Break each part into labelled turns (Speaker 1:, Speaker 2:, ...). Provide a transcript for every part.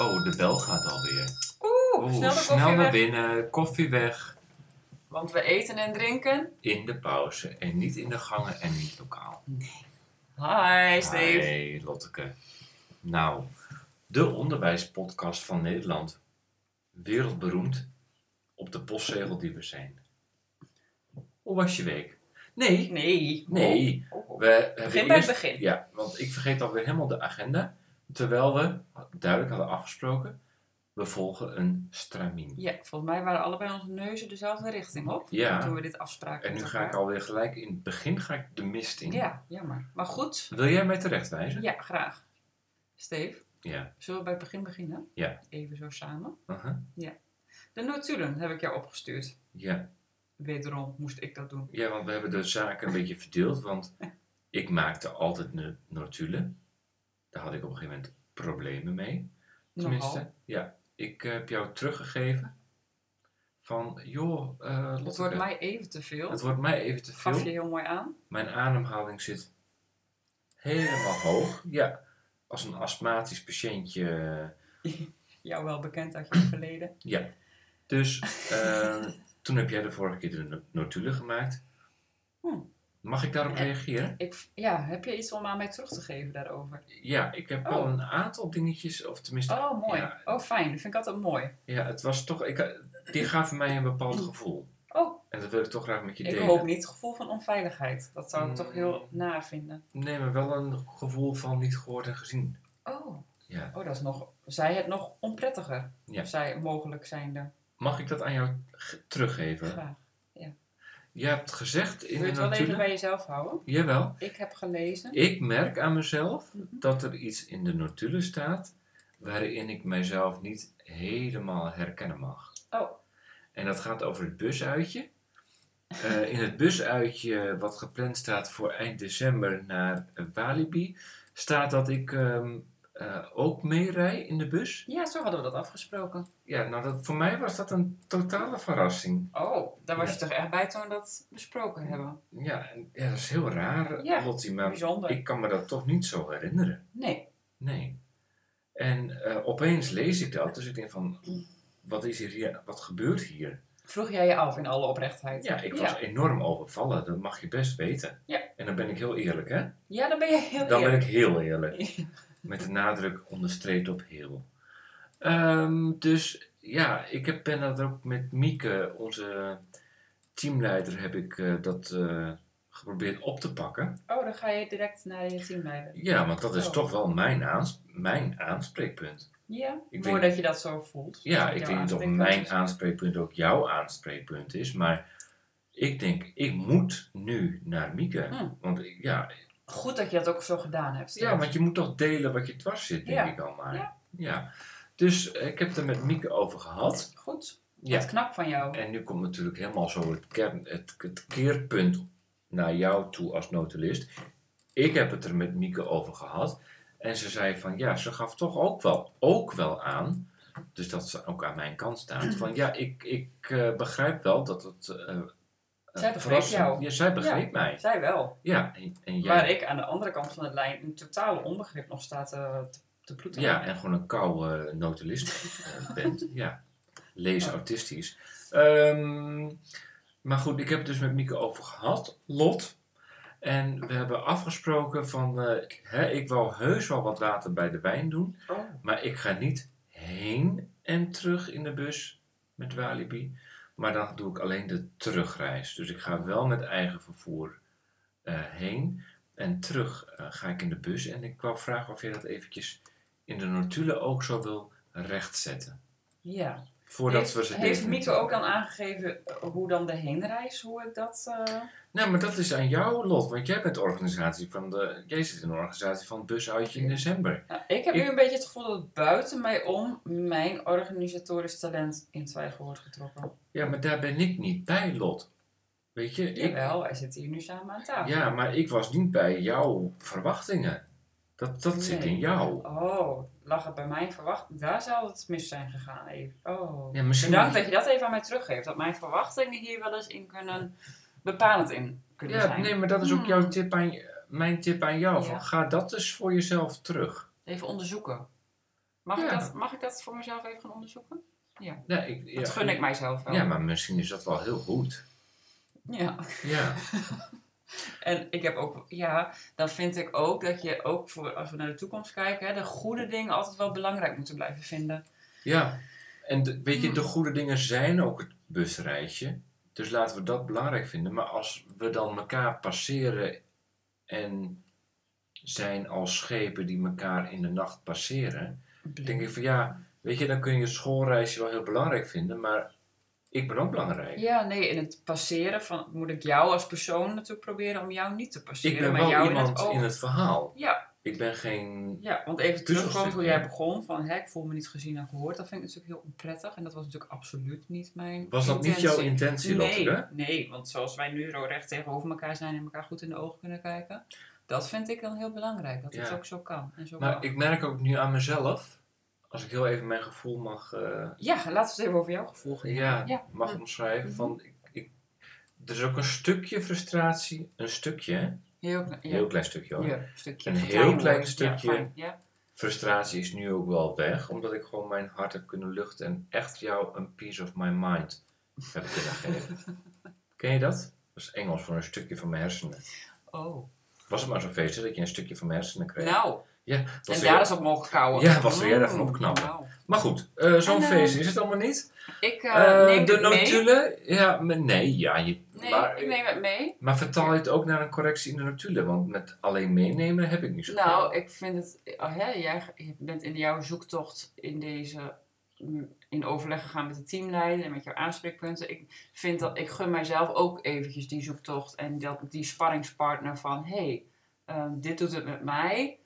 Speaker 1: Oh, de bel gaat alweer. Oeh,
Speaker 2: Oeh, Oh, snel de koffie
Speaker 1: snel naar
Speaker 2: weg.
Speaker 1: binnen, koffie weg.
Speaker 2: Want we eten en drinken.
Speaker 1: In de pauze en niet in de gangen en niet lokaal.
Speaker 2: Hi, Steve.
Speaker 1: Hey, Lotteke. Nou, de onderwijspodcast van Nederland. Wereldberoemd op de postzegel die we zijn. Hoe was je week? Nee,
Speaker 2: Nee.
Speaker 1: nee.
Speaker 2: Oh, oh.
Speaker 1: We hebben
Speaker 2: Begin bij het
Speaker 1: eerst-
Speaker 2: begin.
Speaker 1: Ja, want ik vergeet alweer helemaal de agenda. Terwijl we duidelijk hadden afgesproken, we volgen een stramien.
Speaker 2: Ja, volgens mij waren allebei onze neuzen dezelfde richting op. Toen
Speaker 1: Ja,
Speaker 2: we dit afspraken
Speaker 1: en nu
Speaker 2: met
Speaker 1: ga ik
Speaker 2: elkaar.
Speaker 1: alweer gelijk in het begin ga ik de mist in.
Speaker 2: Ja, jammer. Maar goed.
Speaker 1: Wil jij mij terechtwijzen?
Speaker 2: Ja, graag. Steve,
Speaker 1: Ja.
Speaker 2: zullen we bij het begin beginnen?
Speaker 1: Ja.
Speaker 2: Even zo samen.
Speaker 1: Uh-huh.
Speaker 2: De notulen heb ik jou opgestuurd.
Speaker 1: ja.
Speaker 2: Wederom moest ik dat doen.
Speaker 1: Ja, want we hebben de zaken een beetje verdeeld. Want ik maakte altijd no- notulen. Daar had ik op een gegeven moment problemen mee. Tenminste,
Speaker 2: Nogal.
Speaker 1: ja. Ik eh, heb jou teruggegeven van, joh, eh
Speaker 2: Het
Speaker 1: Lotteke,
Speaker 2: wordt mij even te veel.
Speaker 1: het wordt mij even te veel.
Speaker 2: Gaf je heel mooi aan.
Speaker 1: Mijn ademhaling zit helemaal hoog. Ja, als een astmatisch patiëntje. eh,
Speaker 2: Jou wel bekend uit je verleden.
Speaker 1: Ja. Dus eh, toen heb jij de vorige keer de no- notulen gemaakt.
Speaker 2: Hm.
Speaker 1: Mag ik daarop
Speaker 2: Eh.
Speaker 1: reageren?
Speaker 2: Ik, ja, heb je iets om aan mij terug te geven daarover?
Speaker 1: Ja, ik heb al
Speaker 2: Oh.
Speaker 1: een aantal dingetjes, of tenminste,
Speaker 2: Oh, mooi.
Speaker 1: Ja.
Speaker 2: Oh, fijn. Dat vind ik altijd mooi.
Speaker 1: ja, het was toch, ik, eh, die gaven mij een bepaald gevoel.
Speaker 2: Oh,
Speaker 1: En dat wil ik toch graag met je
Speaker 2: Hm. ik
Speaker 1: delen.
Speaker 2: hoop niet het gevoel van onveiligheid. Dat zou ik
Speaker 1: Mm.
Speaker 2: toch heel na vinden.
Speaker 1: Nee, maar wel een gevoel van niet gehoord en gezien.
Speaker 2: Oh.
Speaker 1: Ja.
Speaker 2: oh, dat is nog... Zij het nog onprettiger.
Speaker 1: Ja.
Speaker 2: Zij mogelijk zijnde.
Speaker 1: Mag ik dat aan jou g- teruggeven?
Speaker 2: Graag.
Speaker 1: Je hebt gezegd in
Speaker 2: Wil je
Speaker 1: de
Speaker 2: het wel even
Speaker 1: notulen...
Speaker 2: bij jezelf houden?
Speaker 1: Jawel.
Speaker 2: Ik heb gelezen.
Speaker 1: Ik merk aan mezelf
Speaker 2: Mhm.
Speaker 1: dat er iets in de notulen staat waarin ik mijzelf niet helemaal herkennen mag.
Speaker 2: Oh.
Speaker 1: En dat gaat over het busuitje. Eh, in het busuitje wat gepland staat voor eind december naar eh, Walibi staat dat ik ehm, eh, ook meerij in de bus.
Speaker 2: Ja, zo hadden we dat afgesproken.
Speaker 1: Ja, nou dat, voor mij was dat een totale verrassing.
Speaker 2: Oh, daar was
Speaker 1: Ja.
Speaker 2: je toch echt bij toen we dat besproken hebben?
Speaker 1: Ja, en- ja dat is heel raar,
Speaker 2: Ja,
Speaker 1: Lottie, maar
Speaker 2: Bijzonder.
Speaker 1: ik kan me dat toch niet zo herinneren.
Speaker 2: Nee.
Speaker 1: Nee. En eh, opeens lees ik dat, dus ik denk van, wat is hier- hier, wat gebeurt hier?
Speaker 2: Vroeg jij je af in alle oprechtheid?
Speaker 1: Ja, ik was
Speaker 2: Ja,
Speaker 1: enorm overvallen, dat mag je best weten.
Speaker 2: Ja.
Speaker 1: En dan ben ik heel eerlijk, hè?
Speaker 2: Ja, dan ben je heel
Speaker 1: Dan ben
Speaker 2: eerlijk.
Speaker 1: ik heel eerlijk. Met de nadruk onderstreept op heel. Ehm, dus ja, ik heb, ben dat ook met Mieke, onze teamleider, heb ik eh, dat eh, geprobeerd op te pakken.
Speaker 2: Oh, dan ga je direct naar je teamleider.
Speaker 1: Ja, want dat is
Speaker 2: Oh.
Speaker 1: toch wel mijn, aans mijn aanspreekpunt.
Speaker 2: Ja,
Speaker 1: Ik
Speaker 2: mooi
Speaker 1: denk-
Speaker 2: dat je dat zo voelt.
Speaker 1: Ja,
Speaker 2: Dat
Speaker 1: ik
Speaker 2: jouw
Speaker 1: denk niet of
Speaker 2: aanspreekpunt
Speaker 1: mijn
Speaker 2: is.
Speaker 1: aanspreekpunt ook jouw aanspreekpunt is, maar ik denk, ik moet nu naar Mieke.
Speaker 2: Hm.
Speaker 1: Want ik- ja,
Speaker 2: Goed dat je dat ook zo gedaan hebt.
Speaker 1: ja, want je moet toch delen wat je dwars zit, denk
Speaker 2: Ja.
Speaker 1: ik al maar.
Speaker 2: Ja.
Speaker 1: Ja. Dus eh, ik heb het er met Mieke over gehad.
Speaker 2: Goed,
Speaker 1: Ja.
Speaker 2: wat knap van jou.
Speaker 1: En nu komt natuurlijk helemaal zo het, kern, het, het keerpunt naar jou toe als notulist. Ik heb het er met Mieke over gehad. En ze zei van ja, ze gaf toch ook wel, ook wel aan. Dus dat ze ook aan mijn kant staat. Van ja, ik, ik eh, begrijp wel dat het. eh, eh,
Speaker 2: begreep
Speaker 1: verrassend-
Speaker 2: jou.
Speaker 1: Ja, zij begreep mij.
Speaker 2: Zij wel.
Speaker 1: Ja, en, en jij.
Speaker 2: Waar ik aan de andere kant van de lijn een totale onbegrip nog staat eh, te, te ploeteren.
Speaker 1: Ja, en gewoon een koude notulist eh, bent. Ja, lees autistisch. Ehm, maar goed, ik heb het dus met Mieke over gehad, Lot. En we hebben afgesproken van, eh, hè, ik wou heus wel wat water bij de wijn doen.
Speaker 2: Oh,
Speaker 1: Maar ik ga niet heen en terug in de bus met Walibi. Maar dan doe ik alleen de terugreis. Dus ik ga wel met eigen vervoer eh, heen. En terug eh, ga ik in de bus. En ik wou vragen of je dat eventjes in de notulen ook zo wil rechtzetten.
Speaker 2: ja.
Speaker 1: Voordat
Speaker 2: heeft
Speaker 1: we ze
Speaker 2: heeft
Speaker 1: definitief-
Speaker 2: Mieke ook dan aangegeven eh, hoe dan de heenreis, hoe ik dat... eh,
Speaker 1: Nou, maar dat is aan jou, Lot. Want jij bent de organisatie van de... Jij zit in de organisatie van het busuitje in
Speaker 2: Oké.
Speaker 1: december.
Speaker 2: Nou, ik heb
Speaker 1: Ik-
Speaker 2: nu een beetje het gevoel dat buiten mij om mijn organisatorisch talent in twijfel wordt getrokken.
Speaker 1: Ja, maar daar ben ik niet bij, Lot. Weet je, ik,
Speaker 2: Jawel, wij zitten hier nu samen aan tafel.
Speaker 1: Ja, maar ik was niet bij jouw verwachtingen. Dat, dat zit
Speaker 2: Nee.
Speaker 1: in jou.
Speaker 2: Oh, lag het bij mijn verwachting? Daar zou het mis zijn gegaan even. Oh.
Speaker 1: Ja, misschien
Speaker 2: Bedankt dat je dat even aan mij teruggeeft. Dat mijn verwachtingen hier wel eens in kunnen, bepalend in kunnen
Speaker 1: ja,
Speaker 2: zijn.
Speaker 1: nee, maar dat is ook
Speaker 2: Hmm.
Speaker 1: jouw tip aan, je- mijn tip aan jou.
Speaker 2: Ja.
Speaker 1: Van, ga dat eens voor jezelf terug.
Speaker 2: Even onderzoeken. Mag, ik
Speaker 1: Ja.
Speaker 2: dat, mag ik dat voor mezelf even gaan onderzoeken?
Speaker 1: Ja, ik, ja,
Speaker 2: Dat gun ik mijzelf wel.
Speaker 1: Ja, maar misschien is dat wel heel goed.
Speaker 2: ja.
Speaker 1: Ja,
Speaker 2: En ik heb ook, ja, dan vind ik ook dat je ook voor, als we naar de toekomst kijken, hè, de goede dingen altijd wel belangrijk moeten blijven vinden.
Speaker 1: ja. En de- weet je,
Speaker 2: Mm.
Speaker 1: de goede dingen zijn ook het busreisje. Dus laten we dat belangrijk vinden. Maar als we dan elkaar passeren en zijn als schepen die elkaar in de nacht passeren, denk ik van ja, weet je, dan kun je het schoolreisje wel heel belangrijk vinden, maar ik ben ook belangrijk.
Speaker 2: Ja, nee, in het passeren van, moet ik jou als persoon natuurlijk proberen om jou niet te passeren,
Speaker 1: ik ben
Speaker 2: maar
Speaker 1: wel
Speaker 2: jou
Speaker 1: iemand
Speaker 2: in het oog.
Speaker 1: verhaal.
Speaker 2: Ja,
Speaker 1: Ik ben geen.
Speaker 2: ja, want even terugkomen
Speaker 1: Puzzelstuk,
Speaker 2: hoe jij
Speaker 1: ja.
Speaker 2: begon, van hè, ik voel me niet gezien en gehoord, dat vind ik natuurlijk heel onprettig en dat was natuurlijk absoluut niet mijn
Speaker 1: Was dat niet jouw
Speaker 2: intentie.
Speaker 1: intentie,
Speaker 2: Nee,
Speaker 1: Lotte?
Speaker 2: nee, want zoals wij nu zo recht tegenover elkaar zijn en elkaar goed in de ogen kunnen kijken, dat vind ik dan heel belangrijk, dat het
Speaker 1: Ja.
Speaker 2: ook zo kan en zo mag.
Speaker 1: Maar ik merk ook nu aan mezelf, als ik heel even mijn gevoel mag, eh,
Speaker 2: Ja, laten we het even over jouw gevoel gaan.
Speaker 1: ja,
Speaker 2: Ja.
Speaker 1: mag
Speaker 2: Hm.
Speaker 1: omschrijven, van ik, ik, er is ook een stukje frustratie, een stukje, hè?
Speaker 2: Heel, kle- ja.
Speaker 1: heel klein stukje hoor.
Speaker 2: Ja, stukje.
Speaker 1: Een heel
Speaker 2: verkleinwoord.
Speaker 1: klein
Speaker 2: Ja,
Speaker 1: stukje.
Speaker 2: fijn, Ja,
Speaker 1: Frustratie is nu ook wel weg, omdat ik gewoon mijn hart heb kunnen luchten en echt jou een piece of my mind heb kunnen geven. Ken je dat? Dat is Engels voor een stukje van mijn hersenen.
Speaker 2: Oh.
Speaker 1: Was het maar zo'n feestje dat je een stukje van mijn hersenen kreeg?
Speaker 2: Nou,
Speaker 1: ja, wat
Speaker 2: en
Speaker 1: wil
Speaker 2: daar
Speaker 1: je-
Speaker 2: is op mogen kouwen.
Speaker 1: Ja, wat wil jij
Speaker 2: Mm,
Speaker 1: daarvan opknappen?
Speaker 2: wauw.
Speaker 1: Maar goed, eh, zo'n
Speaker 2: En, eh,
Speaker 1: feestje is het allemaal niet.
Speaker 2: Ik eh,
Speaker 1: Eh,
Speaker 2: neem
Speaker 1: de
Speaker 2: het mee.
Speaker 1: notulen? Ja, maar nee, ja. Je,
Speaker 2: Nee,
Speaker 1: maar,
Speaker 2: ik neem het mee.
Speaker 1: maar vertaal je het ook naar een correctie in de notulen? Want met alleen meenemen heb ik niet zo
Speaker 2: Nou, ik vind het... oh, hè, jij ge- je bent in jouw zoektocht in deze... mm, In overleg gegaan met de teamleider en met jouw aanspreekpunten. Ik vind dat ik gun mijzelf ook eventjes die zoektocht en dat, die sparringspartner van hey, ehm, dit doet het met mij.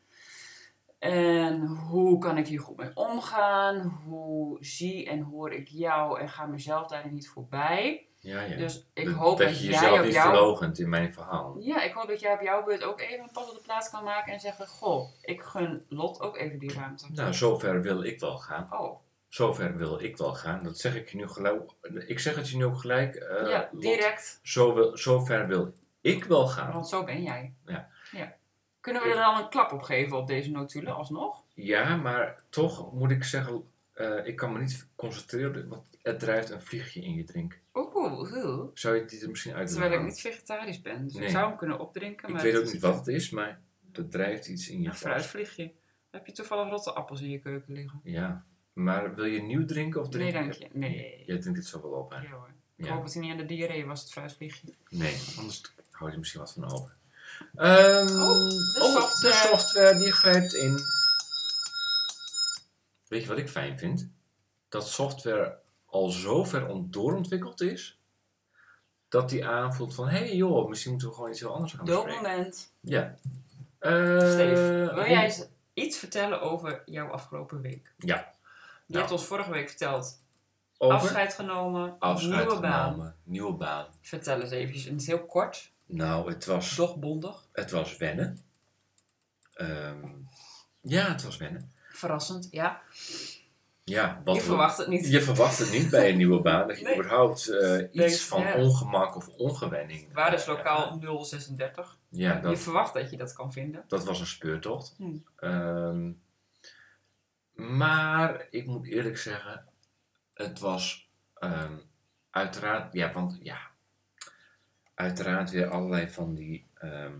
Speaker 2: En hoe kan ik hier goed mee omgaan? Hoe zie en hoor ik jou en ga mezelf daarin niet voorbij?
Speaker 1: ja, ja.
Speaker 2: Dus ik
Speaker 1: Dat-
Speaker 2: hoop dat,
Speaker 1: dat je jezelf
Speaker 2: jij op
Speaker 1: niet
Speaker 2: jou...
Speaker 1: verlogent in mijn verhaal.
Speaker 2: Ja, ik hoop dat jij op jouw beurt ook even een pas op de plaats kan maken en zeggen... Goh, ik gun Lot ook even die ruimte.
Speaker 1: Nou, zover wil ik wel gaan.
Speaker 2: Oh,
Speaker 1: Zover wil ik wel gaan. Dat zeg ik je nu gelijk. Ik zeg het je nu ook gelijk. eh,
Speaker 2: ja,
Speaker 1: Lot.
Speaker 2: direct.
Speaker 1: Zo wil, zover wil ik wel gaan.
Speaker 2: Want zo ben jij.
Speaker 1: Ja.
Speaker 2: Kunnen we er dan een klap op geven op deze notulen alsnog?
Speaker 1: Ja, maar toch moet ik zeggen, eh, ik kan me niet concentreren, op dit, want het drijft een vliegje in je drink.
Speaker 2: Oeh, oeh, oeh.
Speaker 1: Zou je die er misschien uit willen
Speaker 2: Terwijl ik
Speaker 1: halen?
Speaker 2: niet vegetarisch ben. Dus ik
Speaker 1: Nee.
Speaker 2: zou hem kunnen opdrinken.
Speaker 1: Ik
Speaker 2: maar
Speaker 1: weet
Speaker 2: het
Speaker 1: ook
Speaker 2: is-
Speaker 1: niet wat het is, maar er drijft iets in je
Speaker 2: Een
Speaker 1: vast.
Speaker 2: fruitvliegje. Heb je toevallig rotte appels in je keuken liggen?
Speaker 1: Ja, maar wil je nieuw drinken of
Speaker 2: Nee,
Speaker 1: drinken?
Speaker 2: dank je. Nee.
Speaker 1: Jij drinkt het zo wel op, hè?
Speaker 2: Ja, hoor. Ik
Speaker 1: Ja.
Speaker 2: hoop dat hij niet aan de diarree was, het fruitvliegje.
Speaker 1: Nee, anders hou je er misschien wat van over. Ehm,
Speaker 2: de
Speaker 1: oh,
Speaker 2: software.
Speaker 1: de software die grijpt in. Weet je wat ik fijn vind? Dat software al zo ver on- doorontwikkeld is, dat die aanvoelt van, hé hey joh, misschien moeten we gewoon iets heel anders gaan
Speaker 2: Doop
Speaker 1: bespreken.
Speaker 2: moment.
Speaker 1: Ja.
Speaker 2: Steve,
Speaker 1: Eh,
Speaker 2: wil jij eens iets vertellen over jouw afgelopen week?
Speaker 1: Ja.
Speaker 2: Je
Speaker 1: Nou.
Speaker 2: hebt ons vorige week verteld.
Speaker 1: over
Speaker 2: Afscheid genomen,
Speaker 1: Afscheid
Speaker 2: nieuwe baan.
Speaker 1: genomen, nieuwe baan.
Speaker 2: Vertel eens eventjes. En het is heel kort,
Speaker 1: Nou, het was
Speaker 2: toch bondig.
Speaker 1: Het was wennen. Ehm, ja, het was wennen.
Speaker 2: Verrassend, ja.
Speaker 1: Ja, wat
Speaker 2: je
Speaker 1: we-
Speaker 2: verwacht het niet.
Speaker 1: je verwacht het niet bij een nieuwe baan. Dat je
Speaker 2: Nee.
Speaker 1: überhaupt eh,
Speaker 2: Denkt,
Speaker 1: iets van
Speaker 2: ja.
Speaker 1: ongemak of ongewenning...
Speaker 2: Waar is
Speaker 1: eh,
Speaker 2: lokaal 036?
Speaker 1: Ja,
Speaker 2: Je
Speaker 1: dat,
Speaker 2: verwacht dat je dat kan vinden.
Speaker 1: dat was een speurtocht.
Speaker 2: Hm.
Speaker 1: Ehm, maar ik moet eerlijk zeggen... Het was ehm, uiteraard... Ja, want ja... Uiteraard weer allerlei van die... ehm,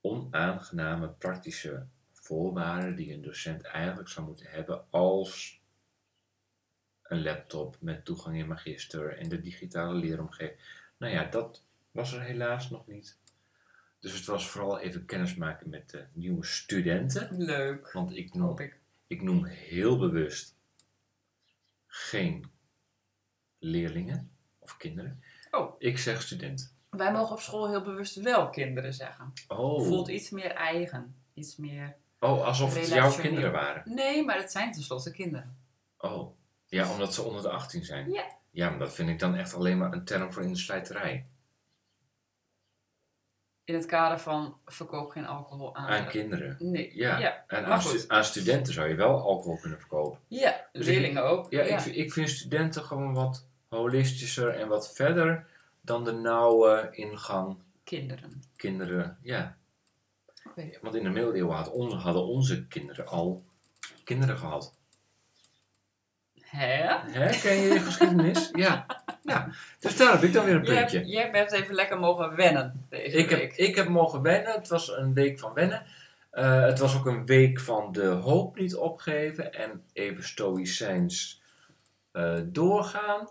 Speaker 1: onaangename praktische voorwaarden die een docent eigenlijk zou moeten hebben als een laptop met toegang in magister en de digitale leeromgeving. Nou ja, dat was er helaas nog niet. Dus het was vooral even kennismaken met de nieuwe studenten.
Speaker 2: Leuk,
Speaker 1: Want ik noem,
Speaker 2: hoop ik.
Speaker 1: ik noem heel bewust geen leerlingen of kinderen.
Speaker 2: Oh.
Speaker 1: Ik zeg student.
Speaker 2: Wij mogen op school heel bewust wel kinderen zeggen.
Speaker 1: Oh,
Speaker 2: Voelt iets meer eigen. Iets meer...
Speaker 1: oh alsof het jouw
Speaker 2: relationeel.
Speaker 1: kinderen waren.
Speaker 2: Nee, maar het zijn tenslotte kinderen.
Speaker 1: Oh, ja, omdat ze onder de 18 zijn.
Speaker 2: Ja.
Speaker 1: Ja, maar dat vind ik dan echt alleen maar een term voor in de slijterij.
Speaker 2: In het kader van verkoop geen alcohol aan.
Speaker 1: Aan kinderen.
Speaker 2: Nee.
Speaker 1: Ja.
Speaker 2: Ah. Ja.
Speaker 1: En
Speaker 2: Maar
Speaker 1: aan,
Speaker 2: goed.
Speaker 1: stu- aan studenten zou je wel alcohol kunnen verkopen.
Speaker 2: ja.
Speaker 1: Dus
Speaker 2: leerlingen ook.
Speaker 1: Ja, Ik, vind- ik vind studenten gewoon wat holistischer en wat verder dan de nauwe ingang
Speaker 2: Kinderen.
Speaker 1: kinderen. Ja,
Speaker 2: Oké.
Speaker 1: want in de middeleeuwen had onze- hadden onze kinderen al kinderen gehad.
Speaker 2: Hè?
Speaker 1: Hè, ken je je geschiedenis? Ja. Nou, dus daar heb ik dan weer een
Speaker 2: Jij, hebt-
Speaker 1: puntje.
Speaker 2: jij bent even lekker mogen wennen deze
Speaker 1: Ik heb,
Speaker 2: week.
Speaker 1: ik heb mogen wennen. Het was een week van wennen. Eh, het was ook een week van de hoop niet opgeven en even stoïcijns eh, doorgaan.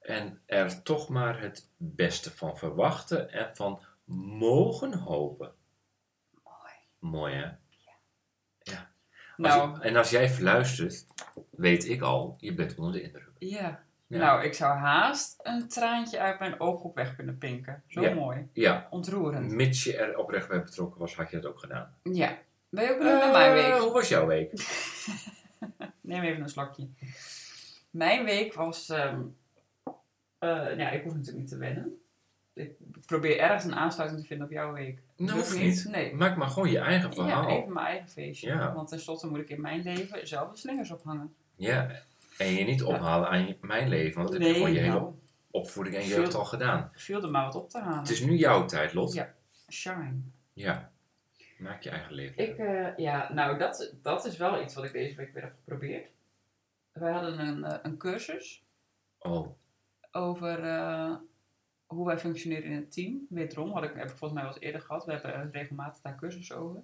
Speaker 1: En er toch maar het beste van verwachten en van mogen hopen.
Speaker 2: Mooi.
Speaker 1: Mooi hè? Als
Speaker 2: Nou,
Speaker 1: je- en als jij fluistert, weet ik al, je bent onder de indruk.
Speaker 2: ja.
Speaker 1: Ja.
Speaker 2: Nou, ik zou haast een traantje uit mijn ooghoek weg kunnen pinken. Zo
Speaker 1: Ja. Mm.
Speaker 2: mooi.
Speaker 1: Ja,
Speaker 2: Ontroerend.
Speaker 1: mits je er oprecht bij betrokken was, had je dat ook gedaan.
Speaker 2: Ja. Ben je ook benieuwd naar mijn
Speaker 1: Eh,
Speaker 2: week?
Speaker 1: Hoe was jouw week?
Speaker 2: Neem even een slokje. Mijn week was. ehm, eh, ja, ik hoef natuurlijk niet te wennen. Ik probeer ergens een aansluiting te vinden op jouw week.
Speaker 1: Nou,
Speaker 2: Lukt
Speaker 1: hoeft niet.
Speaker 2: Nee.
Speaker 1: Maak maar gewoon je eigen
Speaker 2: Ja,
Speaker 1: verhaal.
Speaker 2: even mijn eigen feestje.
Speaker 1: Ja.
Speaker 2: Want tenslotte moet ik in mijn leven zelf de slingers ophangen.
Speaker 1: Ja, en je niet ophalen aan je- mijn leven, want dat heb je gewoon je hele
Speaker 2: nou,
Speaker 1: opvoeding en
Speaker 2: Veel-
Speaker 1: jeugd al gedaan.
Speaker 2: viel er maar wat op te halen.
Speaker 1: Het is nu jouw tijd, Lot. Ja.
Speaker 2: Ja. Shine.
Speaker 1: Maak je eigen leven.
Speaker 2: Ik, eh, ja, nou, dat, dat is wel iets wat ik deze week weer heb geprobeerd. Wij hadden een, eh, een cursus
Speaker 1: Oh,
Speaker 2: over eh, hoe wij functioneren in het team. Wederom had ik, heb ik volgens mij wel eens eerder gehad. We hebben eh, regelmatig daar cursus over.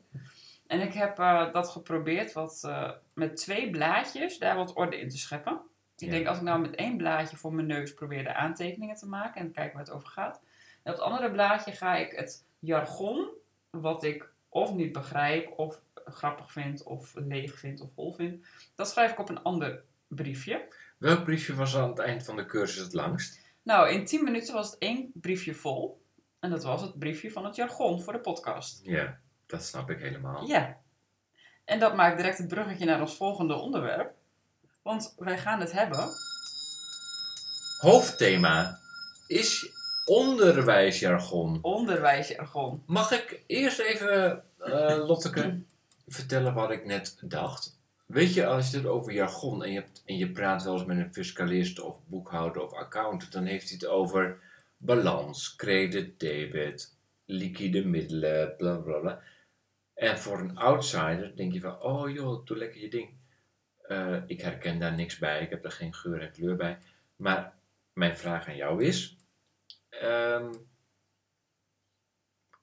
Speaker 2: En ik heb eh, dat geprobeerd wat, eh, met twee blaadjes daar wat orde in te scheppen. Ik
Speaker 1: Ja.
Speaker 2: denk, als ik nou met één blaadje voor mijn neus probeer de aantekeningen te maken en kijken waar het over gaat. En op het andere blaadje ga ik het jargon, wat ik of niet begrijp, of grappig vind, of leeg vind, of hol vind, dat schrijf ik op een ander briefje.
Speaker 1: welk briefje was aan het eind van de cursus het langst?
Speaker 2: Nou, in 10 minuten was het één briefje vol. En dat was het briefje van het jargon voor de podcast.
Speaker 1: Ja, dat snap ik helemaal.
Speaker 2: Ja. En dat maakt direct het bruggetje naar ons volgende onderwerp. Want wij gaan het hebben.
Speaker 1: Hoofdthema is onderwijsjargon.
Speaker 2: Onderwijsjargon.
Speaker 1: Mag ik eerst even, eh, Lotteke, vertellen wat ik net dacht? Weet je, als je het over jargon en je, hebt- en je praat wel eens met een fiscalist of boekhouder of accountant, dan heeft hij het over balans, credit, debit, liquide middelen, bla bla bla. En voor een outsider denk je van, oh joh, doe lekker je ding. Eh, ik herken daar niks bij, ik heb er geen geur en kleur bij. Maar mijn vraag aan jou is, ehm,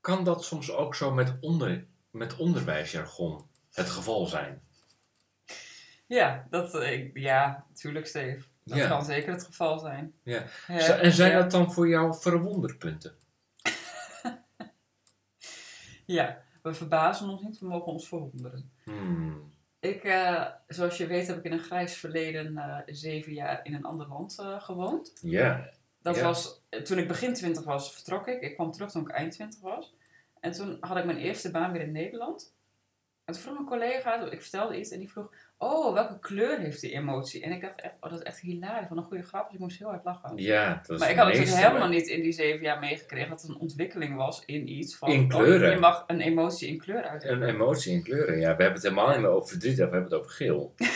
Speaker 1: kan dat soms ook zo met, onder, met onderwijsjargon het geval zijn?
Speaker 2: Ja, dat, eh, ik- ja, natuurlijk, Steve. Dat
Speaker 1: Ja.
Speaker 2: kan zeker het geval zijn.
Speaker 1: Ja.
Speaker 2: Eh,
Speaker 1: Z- en zijn
Speaker 2: ja.
Speaker 1: dat dan voor jou verwonderpunten?
Speaker 2: Ja, we verbazen ons niet, we mogen ons verwonderen.
Speaker 1: Hmm.
Speaker 2: Ik, eh, zoals je weet, heb ik in een grijs verleden eh, zeven jaar in een ander land eh, gewoond.
Speaker 1: Ja.
Speaker 2: Dat
Speaker 1: Ja.
Speaker 2: was, eh, toen ik begin 20 was, vertrok ik. Ik kwam terug toen ik eind 20 was. En toen had ik mijn eerste baan weer in Nederland. En toen vroeg een collega, ik vertelde iets en die vroeg... Oh, welke kleur heeft die emotie? En ik dacht echt, oh, dat is echt hilarisch. Wat een goede grap, dus ik moest heel hard lachen.
Speaker 1: Ja, dat is
Speaker 2: maar ik
Speaker 1: de
Speaker 2: had natuurlijk
Speaker 1: meeste,
Speaker 2: helemaal niet in die zeven jaar meegekregen... dat het een ontwikkeling was in iets van...
Speaker 1: In
Speaker 2: oh,
Speaker 1: kleuren.
Speaker 2: je mag een emotie in kleur uitdrukken.
Speaker 1: Een emotie in kleuren, ja. We hebben het helemaal niet meer over verdriet, we hebben het over geel. eh,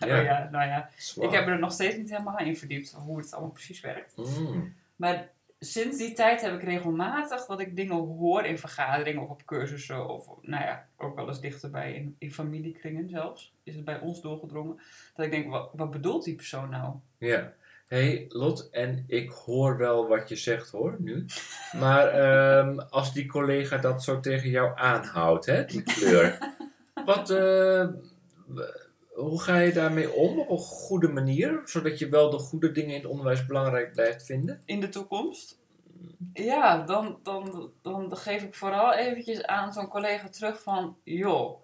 Speaker 2: Oh ja, nou ja.
Speaker 1: zwaar.
Speaker 2: Ik heb er nog steeds niet helemaal in verdiept... hoe het allemaal precies werkt.
Speaker 1: Hmm.
Speaker 2: Maar sinds die tijd heb ik regelmatig dat ik dingen hoor in vergaderingen of op cursussen. Of nou ja, ook wel eens dichterbij in, in familiekringen zelfs. Is het bij ons doorgedrongen. Dat ik denk, wat, wat bedoelt die persoon nou?
Speaker 1: Ja. hey, Lot, en ik hoor wel wat je zegt hoor, nu. Maar ehm, als die collega dat zo tegen jou aanhoudt, hè, die kleur. Wat, eh, w- hoe ga je daarmee om op een goede manier? Zodat je wel de goede dingen in het onderwijs belangrijk blijft vinden?
Speaker 2: in de toekomst? Ja, dan, dan, dan geef ik vooral eventjes aan zo'n collega terug van... joh,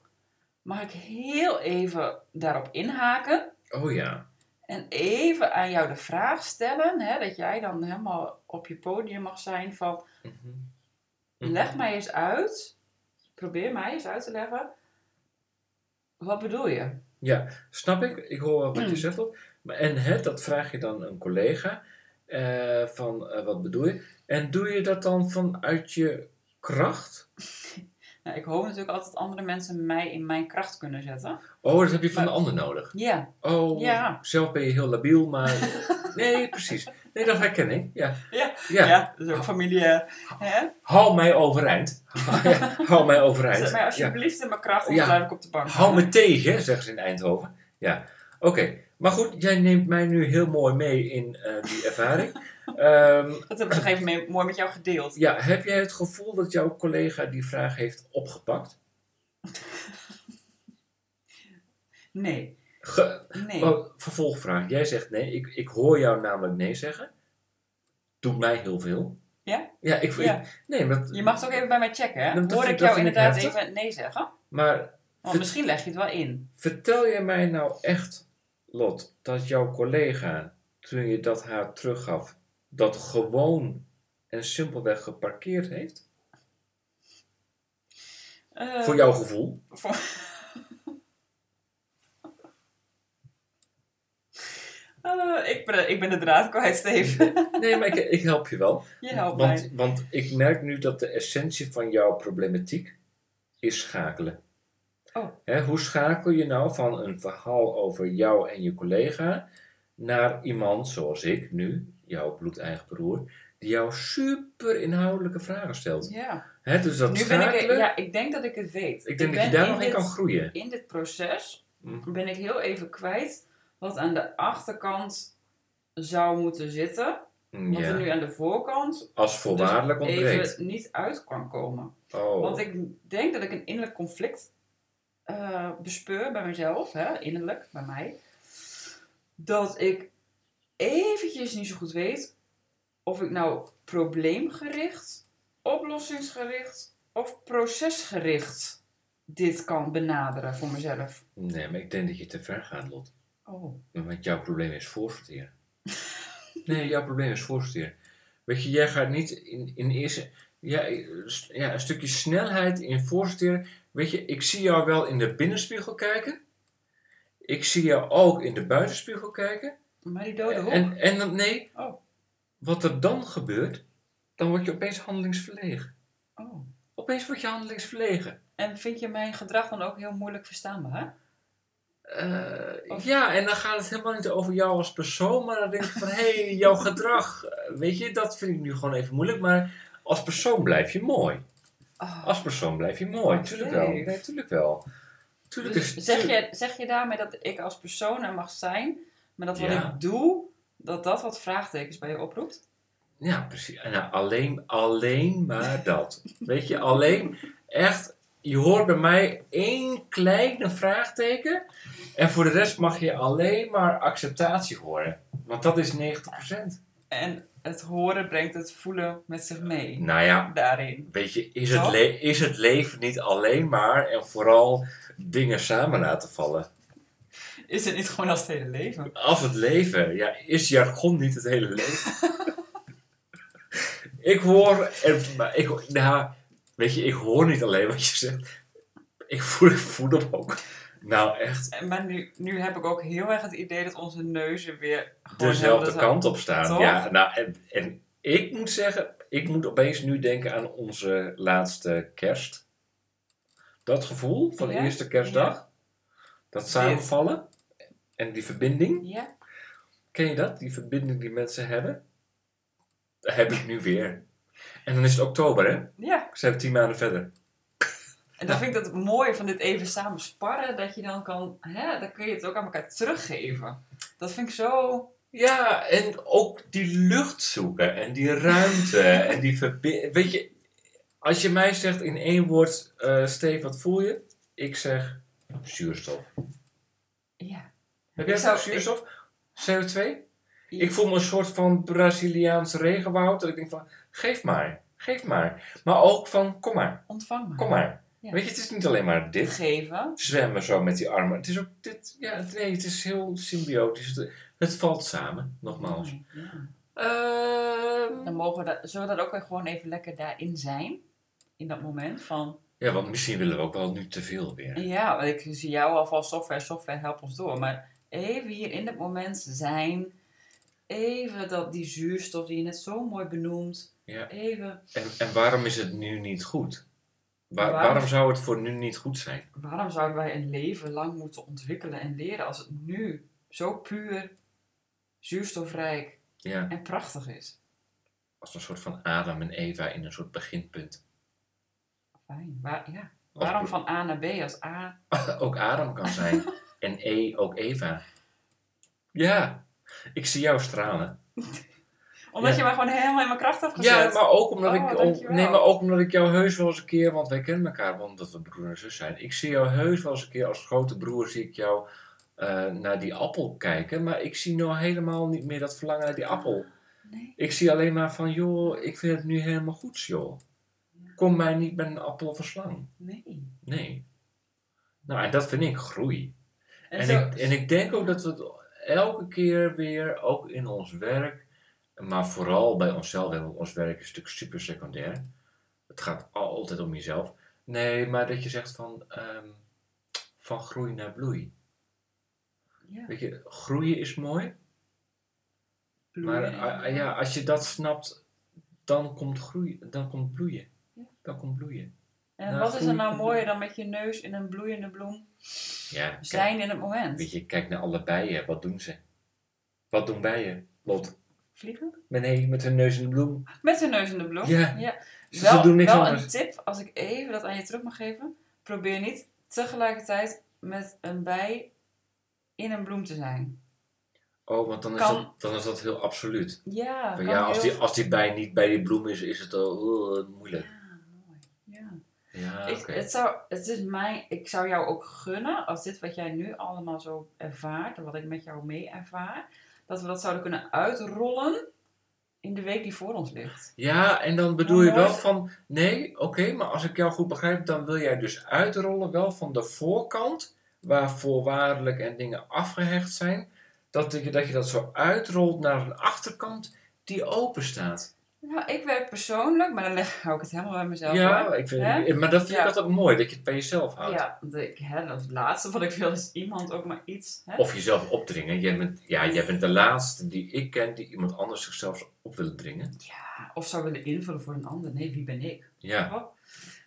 Speaker 2: mag ik heel even daarop inhaken?
Speaker 1: Oh ja.
Speaker 2: En even aan jou de vraag stellen, hè, dat jij dan helemaal op je podium mag zijn van...
Speaker 1: Mhm.
Speaker 2: Leg mij eens uit, probeer mij eens uit te leggen, wat bedoel je?
Speaker 1: Snap ik, ik hoor wel wat je
Speaker 2: Mm.
Speaker 1: zegt. Lot. Maar- En hè, dat vraag je dan een collega. eh, van eh, wat bedoel je? En doe je dat dan vanuit je kracht?
Speaker 2: Nou, ik hoop natuurlijk altijd dat andere mensen mij in mijn kracht kunnen zetten.
Speaker 1: Oh, dat heb je van
Speaker 2: Maar-
Speaker 1: de ander nodig.
Speaker 2: Ja,
Speaker 1: Oh,
Speaker 2: Ja.
Speaker 1: zelf ben je heel labiel, maar... Nee, precies. Nee, dat herken ik. Ja.
Speaker 2: Ja. ja.
Speaker 1: ja.
Speaker 2: dat is ook familiair. Hè?
Speaker 1: Hou mij overeind. Ja, Hou mij overeind.
Speaker 2: Zet mij
Speaker 1: Ja.
Speaker 2: alsjeblieft in mijn kracht, anders
Speaker 1: Ja.
Speaker 2: blijf ik op de bank.
Speaker 1: Hou me tegen, zeggen ze in Eindhoven. Ja, oké. Maar goed, jij neemt mij nu heel mooi mee in eh, die ervaring. Ehm,
Speaker 2: Dat hebben ze op een gegeven moment mooi met jou gedeeld.
Speaker 1: ja, heb jij het gevoel dat jouw collega die vraag heeft opgepakt?
Speaker 2: Nee,
Speaker 1: Ge-
Speaker 2: nee.
Speaker 1: Oh, vervolgvraag. Jij zegt nee. Ik, ik hoor jou namelijk nee zeggen. Doet mij heel veel.
Speaker 2: Ja?
Speaker 1: Ja, ik
Speaker 2: Ja.
Speaker 1: Nee, maar,
Speaker 2: Je mag het ook even bij mij checken, hè?
Speaker 1: Dat- dat
Speaker 2: Hoor
Speaker 1: vind-
Speaker 2: ik
Speaker 1: dat
Speaker 2: jou
Speaker 1: vind ik
Speaker 2: inderdaad
Speaker 1: heftig.
Speaker 2: even nee zeggen?
Speaker 1: maar
Speaker 2: Want misschien leg je het wel in.
Speaker 1: vertel je mij nou echt, Lot, dat jouw collega, toen je dat haar teruggaf, dat gewoon en simpelweg geparkeerd heeft?
Speaker 2: Eh,
Speaker 1: Voor jouw gevoel?
Speaker 2: voor- Eh, ik, ben, ik ben de draad kwijt, Steven.
Speaker 1: Nee, maar ik, ik help je wel.
Speaker 2: Je helpt mij.
Speaker 1: want, want ik merk nu dat de essentie van jouw problematiek is schakelen.
Speaker 2: Oh.
Speaker 1: Hè, hoe schakel je nou van een verhaal over jou en je collega naar iemand zoals ik nu, jouw bloedeigen broer, die jou super inhoudelijke vragen stelt?
Speaker 2: Ja.
Speaker 1: Hè, dus dat
Speaker 2: Nu ben ik,
Speaker 1: schakelen,
Speaker 2: ja, ik denk dat ik het weet.
Speaker 1: ik denk dat
Speaker 2: ben
Speaker 1: je daar nog in
Speaker 2: dit-
Speaker 1: kan groeien.
Speaker 2: In dit proces
Speaker 1: Mm.
Speaker 2: ben ik heel even kwijt wat aan de achterkant zou moeten zitten. Wat er
Speaker 1: Ja,
Speaker 2: nu aan de voorkant dus
Speaker 1: als voorwaardelijk ontbreekt.
Speaker 2: even niet uit kan komen.
Speaker 1: oh.
Speaker 2: Want ik denk dat ik een innerlijk conflict eh, bespeur bij mezelf, hè, innerlijk bij mij. Dat ik eventjes niet zo goed weet of ik nou probleemgericht, oplossingsgericht of procesgericht dit kan benaderen voor mezelf.
Speaker 1: Nee, maar ik denk dat je te ver gaat, Lot.
Speaker 2: Oh.
Speaker 1: Want jouw probleem is voorsorteren. nee, jouw probleem is voorsorteren. Weet je, jij gaat niet in, in eerste... Ja, eh, s- ja, een stukje snelheid in voorsorteren. Weet je, ik zie jou wel in de binnenspiegel kijken. Ik zie jou ook in de buitenspiegel kijken.
Speaker 2: Maar die dode hoek.
Speaker 1: en, en dan, nee,
Speaker 2: Oh.
Speaker 1: wat er dan gebeurt, dan word je opeens handelingsverlegen.
Speaker 2: oh.
Speaker 1: Opeens word je handelingsverlegen.
Speaker 2: En vind je mijn gedrag dan ook heel moeilijk verstaanbaar?
Speaker 1: Eh,
Speaker 2: Of-
Speaker 1: ja, en dan gaat het helemaal niet over jou als persoon, maar dan denk ik van, hé, hey, jouw gedrag, eh, weet je, dat vind ik nu gewoon even moeilijk, maar als persoon blijf je mooi.
Speaker 2: Oh.
Speaker 1: Als persoon blijf je mooi,
Speaker 2: Wat
Speaker 1: tuurlijk wel.
Speaker 2: lief.
Speaker 1: Nee, tuurlijk wel. Tuurlijk
Speaker 2: Dus
Speaker 1: is,
Speaker 2: zeg,
Speaker 1: tuurlijk-
Speaker 2: je, zeg je daarmee dat ik als persoon er mag zijn, maar dat wat
Speaker 1: Ja.
Speaker 2: ik doe, dat dat wat vraagtekens bij je oproept?
Speaker 1: Ja, precies. En Nou, alleen, alleen maar dat. weet je, alleen, echt, je hoort bij mij één kleine vraagteken en voor de rest mag je alleen maar acceptatie horen. Want dat is 90%.
Speaker 2: En het horen brengt het voelen met zich mee
Speaker 1: Nou ja,
Speaker 2: daarin.
Speaker 1: Weet je, is het,
Speaker 2: Toch?
Speaker 1: le- is het leven niet alleen maar en vooral dingen samen laten vallen?
Speaker 2: Is het niet gewoon als het hele leven?
Speaker 1: Als het leven, ja, is jargon niet het hele leven? ik hoor, en, maar ik, nou, weet je, ik hoor niet alleen wat je zegt. Ik voel, ik voel hem ook. Nou, echt
Speaker 2: En- Maar nu, nu heb ik ook heel erg het idee dat onze neuzen weer gewoon
Speaker 1: dezelfde
Speaker 2: helder
Speaker 1: kant op staan.
Speaker 2: Toch?
Speaker 1: Ja, nou, en, en ik moet zeggen, ik moet opeens nu denken aan onze laatste kerst. Dat gevoel van
Speaker 2: Ja,
Speaker 1: eerste kerstdag. Dat samenvallen. En die verbinding.
Speaker 2: zijn. Ja,
Speaker 1: Ken je dat? Die verbinding die mensen hebben. Dat heb ik nu weer. En dan is het oktober, hè?
Speaker 2: ja.
Speaker 1: Ze hebben tien maanden verder.
Speaker 2: En dan vind ik dat mooi van dit even samen sparren, dat je dan kan, hè, dan kun je het ook aan elkaar teruggeven. Dat vind ik zo
Speaker 1: Ja, en ook die lucht zoeken. En die ruimte. en die verbinding. Weet je, als je mij zegt in één woord, eh Steve, wat voel je? Ik zeg zuurstof.
Speaker 2: Ja.
Speaker 1: Heb
Speaker 2: Ik
Speaker 1: jij
Speaker 2: zou-
Speaker 1: ook zuurstof? CO2?
Speaker 2: Ja.
Speaker 1: Ik voel me een soort van Braziliaans regenwoud. Dat ik denk van, geef maar, geef maar. Maar ook van, kom maar,
Speaker 2: Ontvang maar.
Speaker 1: kom maar.
Speaker 2: Ja.
Speaker 1: Weet je, het is niet alleen maar dit.
Speaker 2: Geven.
Speaker 1: Zwemmen zo met die armen. Het is ook dit. Ja, het- nee, het is heel symbiotisch. Het, het valt samen, nogmaals.
Speaker 2: Mooi, ja. Dan
Speaker 1: Ehm,
Speaker 2: mogen we dat, zullen we dat ook weer gewoon even lekker daarin zijn? In dat moment van,
Speaker 1: ja, want misschien willen we ook wel nu te veel weer.
Speaker 2: ja, want ik zie jou al van software, software, help ons door. Maar even hier in dat moment zijn, even dat die zuurstof die je net zo mooi benoemt,
Speaker 1: Ja.
Speaker 2: even,
Speaker 1: En, en waarom is het nu niet goed? Waar-
Speaker 2: Waarom-
Speaker 1: waarom zou het voor nu niet goed zijn?
Speaker 2: Waarom zouden wij een leven lang moeten ontwikkelen en leren als het nu zo puur, zuurstofrijk
Speaker 1: Ja,
Speaker 2: en prachtig is?
Speaker 1: als een soort van Adam en Eva in een soort beginpunt.
Speaker 2: Fijn. Waar- ja. Waarom
Speaker 1: Als-
Speaker 2: van A naar B als A?
Speaker 1: ook Adam kan zijn. en E ook Eva. Ja, ik zie jou stralen.
Speaker 2: Omdat
Speaker 1: Ja.
Speaker 2: je mij gewoon helemaal in mijn kracht hebt gezet.
Speaker 1: Ja, maar ook, omdat
Speaker 2: Oh,
Speaker 1: ik,
Speaker 2: dankjewel.
Speaker 1: nee, maar ook omdat ik jou heus wel eens een keer, want wij kennen elkaar wel omdat we broer en zus zijn. Ik zie jou heus wel eens een keer als grote broer, zie ik jou eh, naar die appel kijken. Maar ik zie nou helemaal niet meer dat verlangen naar die appel.
Speaker 2: Nee.
Speaker 1: Ik zie alleen maar van, joh, ik vind het nu helemaal goed, joh. Kom mij niet met een appel of een slang.
Speaker 2: Nee.
Speaker 1: Nee. Nou, en dat vind ik groei.
Speaker 2: En,
Speaker 1: En,
Speaker 2: zo,
Speaker 1: ik, en ik denk ook dat we het elke keer weer, ook in ons werk, maar vooral bij onszelf, hè, want ons werk is natuurlijk super secundair. Het gaat altijd om jezelf. Nee, maar dat je zegt van, ehm, van groei naar bloei.
Speaker 2: ja,
Speaker 1: Weet je, groeien is mooi, maar
Speaker 2: bloeien.
Speaker 1: ah, ja, als je dat snapt, dan komt, groei, dan komt bloeien.
Speaker 2: Ja.
Speaker 1: Dan komt bloeien.
Speaker 2: En
Speaker 1: Nou,
Speaker 2: wat is er
Speaker 1: groei-
Speaker 2: nou mooier dan met je neus in een bloeiende bloem
Speaker 1: Ja, kijk,
Speaker 2: zijn in het moment?
Speaker 1: weet je, kijk naar alle bijen. Wat doen ze? Wat doen bijen? Lot,
Speaker 2: Vliegen?
Speaker 1: met, nee, met hun neus in de bloem.
Speaker 2: Met de neus in de bloem.
Speaker 1: Ja. Ze-
Speaker 2: Wel,
Speaker 1: ze doen niks
Speaker 2: wel
Speaker 1: anders.
Speaker 2: een tip, als ik even dat aan je terug mag geven. Probeer niet tegelijkertijd met een bij in een bloem te zijn.
Speaker 1: Oh, want dan is,
Speaker 2: Kan-
Speaker 1: dat, dan is dat heel absoluut.
Speaker 2: Ja,
Speaker 1: Van,
Speaker 2: kan
Speaker 1: ja, als
Speaker 2: heel-
Speaker 1: die, als die bij niet bij die bloem is, is het al eh, moeilijk.
Speaker 2: Ja, mooi. Ja.
Speaker 1: Ja,
Speaker 2: Ik,
Speaker 1: Ah, oké.
Speaker 2: het zou, het is mijn, ik zou jou ook gunnen, als dit wat jij nu allemaal zo ervaart, en wat ik met jou mee ervaar, dat we dat zouden kunnen uitrollen in de week die voor ons ligt.
Speaker 1: Ja, en dan bedoel
Speaker 2: Hoe
Speaker 1: je
Speaker 2: Oh, mooi
Speaker 1: wel
Speaker 2: is-
Speaker 1: van, nee, oké, maar als ik jou goed begrijp, dan wil jij dus uitrollen wel van de voorkant, waar voorwaardelijk en dingen afgehecht zijn, dat je dat, je dat zo uitrolt naar een achterkant die open staat.
Speaker 2: Nou, ik werk persoonlijk, maar dan leg, hou ik het helemaal bij mezelf.
Speaker 1: Ja,
Speaker 2: hoor.
Speaker 1: ik vind,
Speaker 2: Hè?
Speaker 1: maar dat vind ik
Speaker 2: Ja.
Speaker 1: altijd mooi, dat je het bij jezelf houdt.
Speaker 2: ja want ik, hè, dat is het laatste wat ik wil, is iemand ook maar iets. Hè?
Speaker 1: Of jezelf opdringen. Jij bent, ja, jij bent de laatste die ik ken die iemand anders zichzelf op wil dringen.
Speaker 2: Ja, of zou willen invullen voor een ander. Nee, wie ben ik?
Speaker 1: Ja,
Speaker 2: Hop.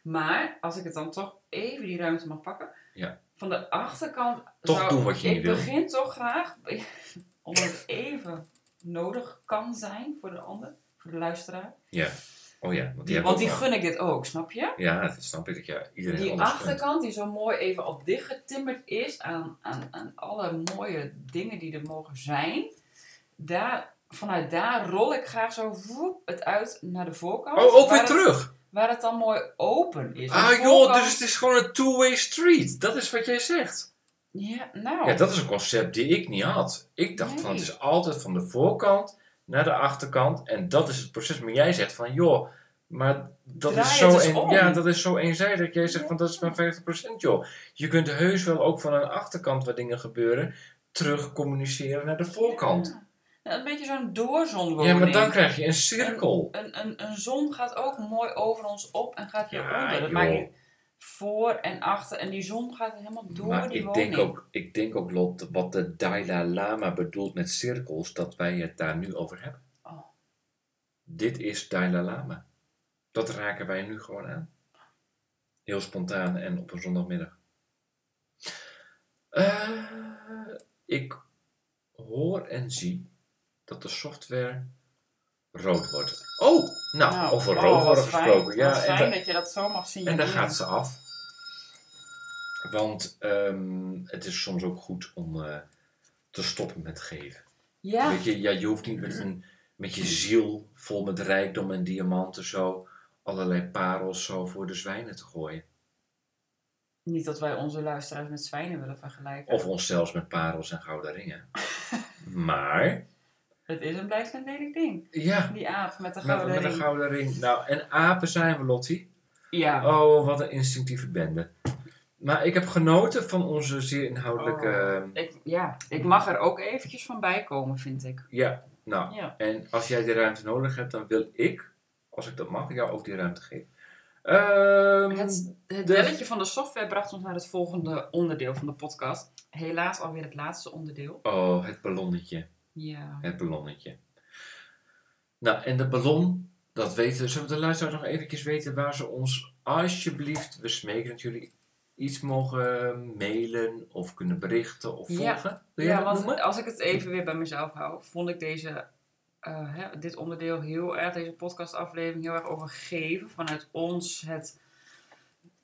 Speaker 2: Maar als ik het dan toch even die ruimte mag pakken.
Speaker 1: Ja.
Speaker 2: Van de achterkant.
Speaker 1: Toch doen wat je
Speaker 2: ik
Speaker 1: niet wil.
Speaker 2: Ik begin toch graag. Omdat het even nodig kan zijn voor de ander. Voor de luisteraar.
Speaker 1: ja. Oh ja, want die, hebben
Speaker 2: Want
Speaker 1: ook
Speaker 2: die
Speaker 1: wel-
Speaker 2: gun ik dit ook, snap je?
Speaker 1: Ja, dat snap ik. dat Ja, iedereen
Speaker 2: Die
Speaker 1: anders gunt.
Speaker 2: achterkant die zo mooi even op dicht getimmerd is aan, aan, aan alle mooie dingen die er mogen zijn. Daar, vanuit daar rol ik graag zo woep, het uit naar de voorkant.
Speaker 1: Oh, ook
Speaker 2: waar
Speaker 1: weer
Speaker 2: het-
Speaker 1: terug.
Speaker 2: Waar het dan mooi open is. De
Speaker 1: Ah joh,
Speaker 2: voorkant-
Speaker 1: dus het is gewoon een two-way street. Dat is wat jij zegt.
Speaker 2: Ja, nou.
Speaker 1: Ja, dat is een concept die ik niet had. Ik dacht van het
Speaker 2: Nee.
Speaker 1: is altijd van de voorkant naar de achterkant en dat is het proces. Maar jij zegt van joh, maar dat
Speaker 2: Draai
Speaker 1: is
Speaker 2: het
Speaker 1: zo,
Speaker 2: eens om.
Speaker 1: ja, dat is zo eenzijdig. Jij zegt
Speaker 2: Ja.
Speaker 1: van dat is maar 50% joh. Je kunt heus wel ook van een achterkant waar dingen gebeuren terug communiceren naar de voorkant.
Speaker 2: Ja. Nou, Een beetje zo'n doorzonwoning.
Speaker 1: Ja, maar dan krijg je een cirkel.
Speaker 2: een, een, een zon gaat ook mooi over ons op en gaat weer
Speaker 1: Ja,
Speaker 2: onder. Dat
Speaker 1: joh.
Speaker 2: maakt niet voor en achter. En die zon gaat helemaal door
Speaker 1: Maar
Speaker 2: die
Speaker 1: Nou, ik
Speaker 2: woning.
Speaker 1: denk, ook, ik denk ook, Lot, wat de Dalai Lama bedoelt met cirkels, dat wij het daar nu over hebben.
Speaker 2: Oh.
Speaker 1: Dit is Dalai Lama. Dat raken wij nu gewoon aan. Heel spontaan en op een zondagmiddag. Eh, ik hoor en zie dat de software rood wordt. Oh, nou,
Speaker 2: Nou,
Speaker 1: over
Speaker 2: oh,
Speaker 1: rood
Speaker 2: wat
Speaker 1: worden
Speaker 2: fijn.
Speaker 1: gesproken. Ja,
Speaker 2: Wat
Speaker 1: en
Speaker 2: fijn
Speaker 1: da-
Speaker 2: dat je dat zo mag zien.
Speaker 1: en daar gaat ze af. Want ehm, het is soms ook goed om eh, te stoppen met geven.
Speaker 2: Ja,
Speaker 1: Weet je, ja, je hoeft niet met, een, met je ziel vol met rijkdom en diamanten zo allerlei parels zo voor de zwijnen te gooien.
Speaker 2: niet dat wij onze luisteraars met zwijnen willen vergelijken.
Speaker 1: Of ons zelfs met parels en gouden ringen. Maar,
Speaker 2: Het is een blijft een lelijk ding.
Speaker 1: ja,
Speaker 2: Die aap met de
Speaker 1: met,
Speaker 2: gouden
Speaker 1: met een
Speaker 2: ring.
Speaker 1: gouden ring. Nou, en apen zijn we, Lottie.
Speaker 2: Ja.
Speaker 1: Oh, wat een instinctieve bende. Maar ik heb genoten van onze zeer inhoudelijke... ehm,
Speaker 2: Ik, ja, ik mag er ook eventjes van bij komen, vind ik.
Speaker 1: Ja, nou,
Speaker 2: Ja.
Speaker 1: en als jij die ruimte nodig hebt, dan wil ik, als ik dat mag, jou ook die ruimte geven. Ehm,
Speaker 2: Het, het
Speaker 1: de-
Speaker 2: belletje van de software bracht ons naar het volgende onderdeel van de podcast. Helaas alweer het laatste onderdeel.
Speaker 1: Oh, het ballonnetje,
Speaker 2: Ja.
Speaker 1: het ballonnetje. Nou, en de ballon, Dat weten, zullen we de luisteraars nog eventjes weten waar ze ons alsjeblieft, we smeken het jullie, iets mogen mailen of kunnen berichten of
Speaker 2: Ja.
Speaker 1: volgen? Wil jij
Speaker 2: Ja,
Speaker 1: dat
Speaker 2: want
Speaker 1: noemen?
Speaker 2: als ik het even weer bij mezelf hou, vond ik deze, eh, hè, dit onderdeel heel erg, deze podcastaflevering heel erg overgeven vanuit ons. Het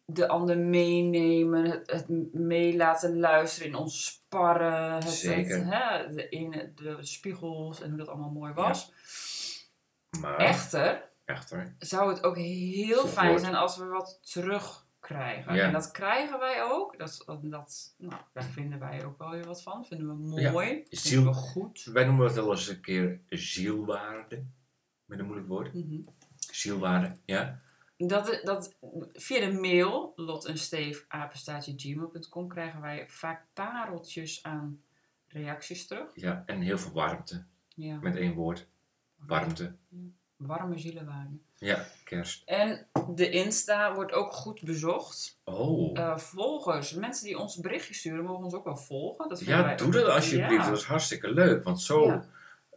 Speaker 2: de ander meenemen, het, het mee laten luisteren in ons sparren. Het,
Speaker 1: Zeker.
Speaker 2: het, hè, de, ene- de spiegels en hoe dat allemaal mooi was.
Speaker 1: Maar,
Speaker 2: Echter,
Speaker 1: Echter.
Speaker 2: zou het ook heel
Speaker 1: Goed
Speaker 2: fijn
Speaker 1: woord.
Speaker 2: zijn als we wat terugkrijgen.
Speaker 1: Ja.
Speaker 2: En dat krijgen wij ook. Dat, dat, dat- nou, daar vinden wij ook wel weer wat van. Vinden we
Speaker 1: Ja.
Speaker 2: mooi.
Speaker 1: Ziel-
Speaker 2: Vinden we goed.
Speaker 1: Wij noemen dat wel eens een keer zielwaarde. Met een moeilijk woord.
Speaker 2: Mhm.
Speaker 1: Zielwaarde, ja.
Speaker 2: Dat, dat, via de mail, lot en steef, krijgen wij vaak pareltjes aan reacties terug.
Speaker 1: ja. En heel veel warmte.
Speaker 2: Ja.
Speaker 1: Met één woord. Warmte.
Speaker 2: Warme zielenwaarde.
Speaker 1: Ja, kerst.
Speaker 2: En de Insta wordt ook goed bezocht.
Speaker 1: Oh.
Speaker 2: Eh, volgers, mensen die ons berichtjes sturen, mogen ons ook wel volgen. Dat vinden
Speaker 1: Ja,
Speaker 2: wij
Speaker 1: doe
Speaker 2: ook-
Speaker 1: dat alsjeblieft.
Speaker 2: Ja.
Speaker 1: Dat is hartstikke leuk. Want zo,
Speaker 2: Ja.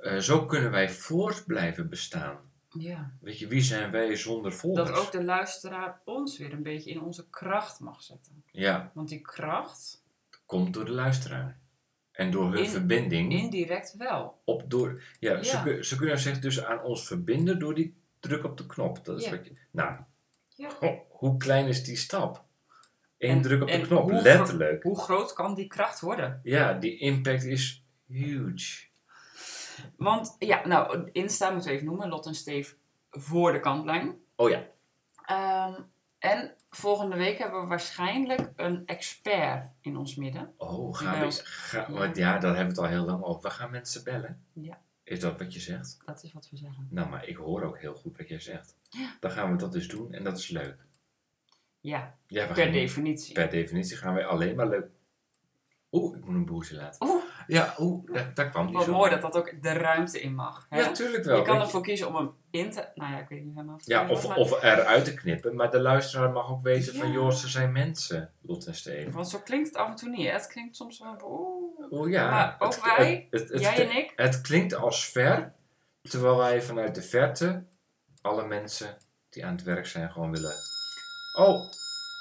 Speaker 1: eh, zo kunnen wij voort blijven bestaan.
Speaker 2: ja.
Speaker 1: Weet je, wie zijn wij zonder volgers?
Speaker 2: Dat ook de luisteraar ons weer een beetje in onze kracht mag zetten.
Speaker 1: Ja,
Speaker 2: Want die kracht,
Speaker 1: komt door de luisteraar. En door hun
Speaker 2: In-
Speaker 1: verbinding.
Speaker 2: indirect wel.
Speaker 1: Op door, ja, Ze,
Speaker 2: Ja.
Speaker 1: kun- ze kunnen zich dus aan ons verbinden door die druk op de knop. Dat is
Speaker 2: Ja.
Speaker 1: wat je, nou,
Speaker 2: Ja.
Speaker 1: ho, hoe klein is die stap? Eén
Speaker 2: En-
Speaker 1: druk op de
Speaker 2: en
Speaker 1: knop,
Speaker 2: hoe gro-
Speaker 1: letterlijk.
Speaker 2: Hoe groot kan die kracht worden?
Speaker 1: Ja, die impact is huge.
Speaker 2: Want, ja, nou, Insta moeten we even noemen. Lot en Steef voor de kantlijn.
Speaker 1: Oh ja,
Speaker 2: Ehm, en volgende week hebben we waarschijnlijk een expert in ons midden.
Speaker 1: oh,
Speaker 2: Bij
Speaker 1: gaan we,
Speaker 2: ons-
Speaker 1: ga,
Speaker 2: ja.
Speaker 1: want ja, daar hebben we het al heel lang over. We gaan mensen bellen.
Speaker 2: Ja.
Speaker 1: Is dat wat je zegt?
Speaker 2: Dat is wat we zeggen.
Speaker 1: Nou, maar ik hoor ook heel goed wat jij zegt. Dan gaan we dat dus doen en dat is leuk.
Speaker 2: Ja,
Speaker 1: Ja, we
Speaker 2: per
Speaker 1: gaan-
Speaker 2: definitie.
Speaker 1: per definitie gaan wij alleen maar leuk... Oeh, ik moet een boertje laten.
Speaker 2: Oeh,
Speaker 1: Ja, oeh, daar, daar kwam die
Speaker 2: wat
Speaker 1: zo.
Speaker 2: mooi dat dat ook de ruimte in mag. Hè?
Speaker 1: Ja, tuurlijk wel.
Speaker 2: je kan
Speaker 1: Weet
Speaker 2: ervoor kiezen om hem in te... Nou ja, ik weet niet helemaal of het
Speaker 1: Ja,
Speaker 2: zo is,
Speaker 1: of,
Speaker 2: maar-
Speaker 1: of eruit te knippen. Maar de luisteraar mag ook weten van...
Speaker 2: Ja.
Speaker 1: joh, ze zijn mensen, Lot en Steven.
Speaker 2: Want zo klinkt het af en toe niet. hè? Het klinkt soms wel. Oeh.
Speaker 1: Oh ja.
Speaker 2: Maar ook wij,
Speaker 1: het, het, het,
Speaker 2: Jij en ik?
Speaker 1: het klinkt als ver... terwijl wij vanuit de verte... alle mensen die aan het werk zijn gewoon willen... Oh,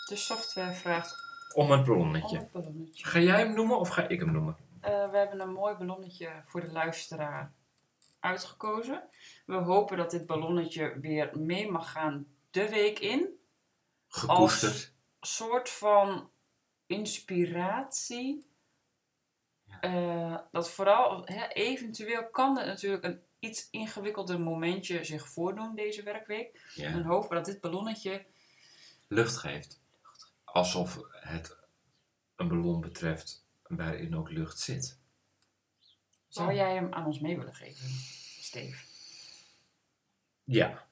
Speaker 2: De software vraagt
Speaker 1: om een
Speaker 2: om
Speaker 1: ballonnetje.
Speaker 2: het ballonnetje.
Speaker 1: Ga jij hem noemen of ga ik hem noemen?
Speaker 2: Eh, we hebben een mooi ballonnetje voor de luisteraar uitgekozen. We hopen dat dit ballonnetje weer mee mag gaan de week in.
Speaker 1: Gekoesterd.
Speaker 2: soort van inspiratie. Eh, dat vooral, hè, eventueel kan er natuurlijk een iets ingewikkelder momentje zich voordoen deze werkweek. En
Speaker 1: Ja.
Speaker 2: hopen we dat dit ballonnetje
Speaker 1: Lucht geeft. Alsof het een ballon betreft waarin ook lucht zit. Oh.
Speaker 2: Zou jij hem aan ons mee willen geven, Steve?
Speaker 1: Ja,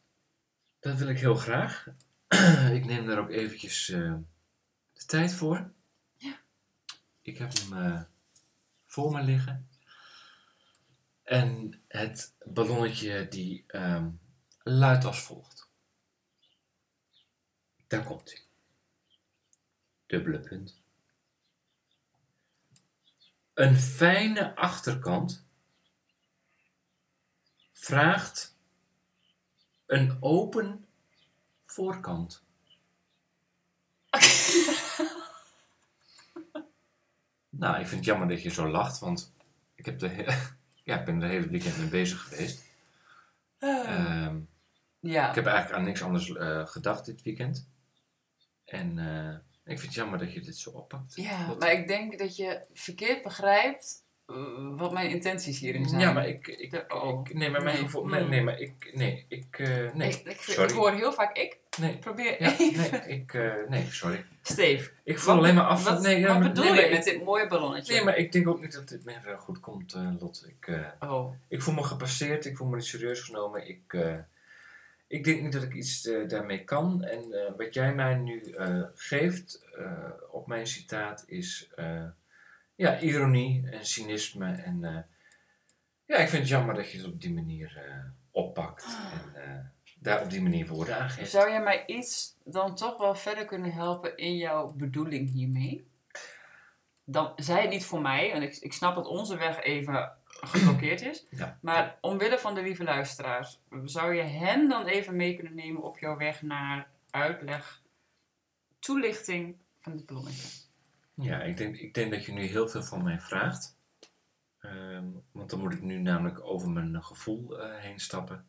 Speaker 1: dat wil ik heel graag. ik neem daar ook eventjes eh, de tijd voor. Ja. Ik heb hem eh, voor me liggen. En het ballonnetje die ehm, luidt als volgt. Daar komt hij. Dubbele punt. Een fijne achterkant vraagt een open voorkant. nou, ik vind het jammer dat je zo lacht, want ik, heb de he- ja, ik ben er hele weekend mee bezig geweest. Ehm,
Speaker 2: ja.
Speaker 1: ik heb eigenlijk aan niks anders eh, gedacht dit weekend. En eh, ik vind het jammer dat je dit zo oppakt.
Speaker 2: ja,
Speaker 1: Wat-
Speaker 2: maar ik denk dat je verkeerd begrijpt eh, wat mijn intenties hierin zijn.
Speaker 1: Ja, maar ik... ik,
Speaker 2: De- oh.
Speaker 1: ik nee, maar mijn
Speaker 2: Nee. Hmm.
Speaker 1: gevoel... Nee, nee, maar ik... Nee, ik... eh, nee,
Speaker 2: ik, ik,
Speaker 1: sorry.
Speaker 2: ik hoor heel vaak ik.
Speaker 1: nee,
Speaker 2: Probeer
Speaker 1: ja,
Speaker 2: even.
Speaker 1: nee, ik... eh, nee, sorry.
Speaker 2: Steve,
Speaker 1: Ik voel alleen maar af...
Speaker 2: wat,
Speaker 1: nee, ja,
Speaker 2: wat
Speaker 1: maar-
Speaker 2: bedoel
Speaker 1: nee,
Speaker 2: je
Speaker 1: maar ik-
Speaker 2: met dit mooie ballonnetje?
Speaker 1: Nee, maar ik denk ook niet dat dit meer eh, goed komt, eh, Lot. Ik, eh,
Speaker 2: Oh,
Speaker 1: ik voel me gepasseerd, ik voel me niet serieus genomen. Ik, eh, ik denk niet dat ik iets eh, daarmee kan. En eh, wat jij mij nu eh, geeft eh, op mijn citaat is eh, ja, ironie en cynisme. En eh, ja, ik vind het jammer dat je het op die manier eh, oppakt.
Speaker 2: Ah.
Speaker 1: En eh, daar op die manier woorden aan geeft.
Speaker 2: zou jij mij iets dan toch wel verder kunnen helpen in jouw bedoeling hiermee? Dan, zij het niet voor mij, en ik, ik snap dat onze weg even geblokkeerd is.
Speaker 1: Ja.
Speaker 2: Maar omwille van de lieve luisteraars, zou je hen dan even mee kunnen nemen op jouw weg naar uitleg, toelichting van de bloemetje?
Speaker 1: Ja, ik denk, ik denk dat je nu heel veel van mij vraagt. Ehm, want dan moet ik nu namelijk over mijn gevoel eh, heen stappen.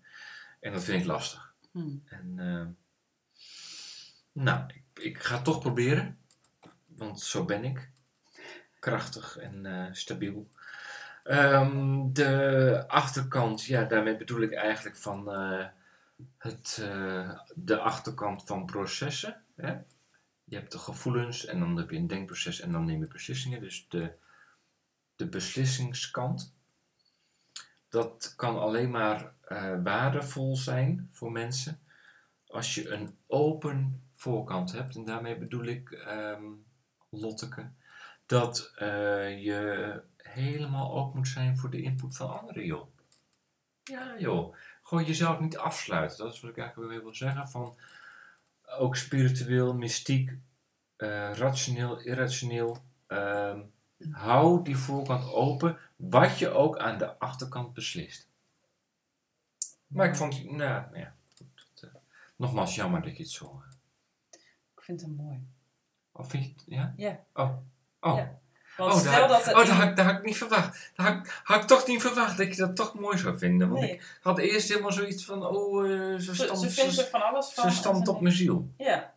Speaker 1: En dat vind ik lastig.
Speaker 2: Hmm.
Speaker 1: En, ehm, nou, ik, ik ga het toch proberen. Want zo ben ik. Krachtig en eh, stabiel. Ehm, de achterkant, ja, daarmee bedoel ik eigenlijk van eh, het, eh, de achterkant van processen. Hè? Je hebt de gevoelens en dan heb je een denkproces en dan neem je beslissingen. Dus de, de beslissingskant. Dat kan alleen maar eh, waardevol zijn voor mensen als je een open voorkant hebt. En daarmee bedoel ik, ehm Lotteke, dat eh, je helemaal open moet zijn voor de input van anderen, joh. Ja, joh. Gewoon jezelf niet afsluiten. Dat is wat ik eigenlijk weer wil zeggen. Van, ook spiritueel, mystiek, eh, rationeel, irrationeel. ehm, hou die voorkant open, wat je ook aan de achterkant beslist. Maar ik vond, nou nou ja, goed, dat, eh, nogmaals jammer dat je het zo. eh,
Speaker 2: Ik vind hem mooi.
Speaker 1: Of vind je het, ja?
Speaker 2: Ja.
Speaker 1: Oh, oh.
Speaker 2: Ja. Want
Speaker 1: oh,
Speaker 2: stel
Speaker 1: daar,
Speaker 2: dat
Speaker 1: dat
Speaker 2: er
Speaker 1: oh, dat
Speaker 2: iemand-
Speaker 1: had, ik- dat had ik niet verwacht. Dat had, ik- had ik toch niet verwacht dat je dat toch mooi zou vinden. Want
Speaker 2: Nee.
Speaker 1: ik had eerst helemaal zoiets van, oh, eh, ze
Speaker 2: Ze,
Speaker 1: stamt,
Speaker 2: ze
Speaker 1: ze,
Speaker 2: vindt er van alles
Speaker 1: ze
Speaker 2: van.
Speaker 1: stamt op mijn ziel.
Speaker 2: Ja,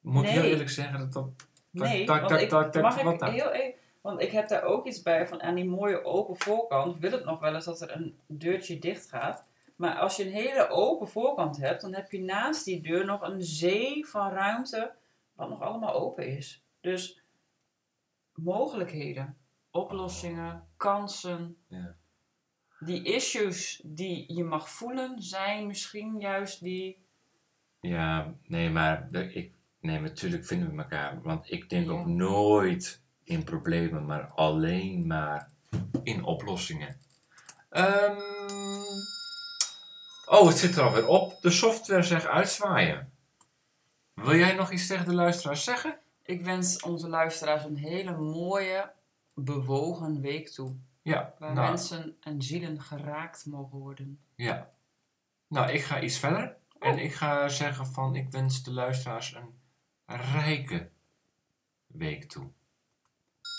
Speaker 1: Moet ik heel
Speaker 2: Nee.
Speaker 1: eerlijk zeggen dat dat... Tak,
Speaker 2: nee.
Speaker 1: tak,
Speaker 2: want
Speaker 1: tak,
Speaker 2: ik,
Speaker 1: tak, tak,
Speaker 2: mag
Speaker 1: wat
Speaker 2: ik
Speaker 1: dan?
Speaker 2: heel even... Want ik heb daar ook iets bij van aan die mooie open voorkant wil het nog wel eens dat er een deurtje dicht gaat. Maar als je een hele open voorkant hebt, dan heb je naast die deur nog een zee van ruimte wat nog allemaal open is. Dus mogelijkheden, oplossingen, kansen.
Speaker 1: Ja.
Speaker 2: Die issues die je mag voelen zijn misschien juist die...
Speaker 1: Ja, nee, maar de- ik, nee, natuurlijk vinden we elkaar. Want ik denk
Speaker 2: Ja.
Speaker 1: ook nooit in problemen, maar alleen maar in oplossingen. Ehm, oh, het zit er alweer op. De software zegt uitzwaaien. Wil jij nog iets tegen de luisteraars zeggen?
Speaker 2: Ik wens onze luisteraars een hele mooie, bewogen week toe.
Speaker 1: Ja,
Speaker 2: Waar
Speaker 1: nou,
Speaker 2: mensen en zielen geraakt mogen worden.
Speaker 1: ja. Nou, ik ga iets verder. En ik ga zeggen van, ik wens de luisteraars een rijke week toe.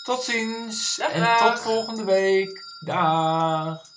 Speaker 1: Tot ziens
Speaker 2: Dag,
Speaker 1: en
Speaker 2: dag.
Speaker 1: tot volgende week. Dag.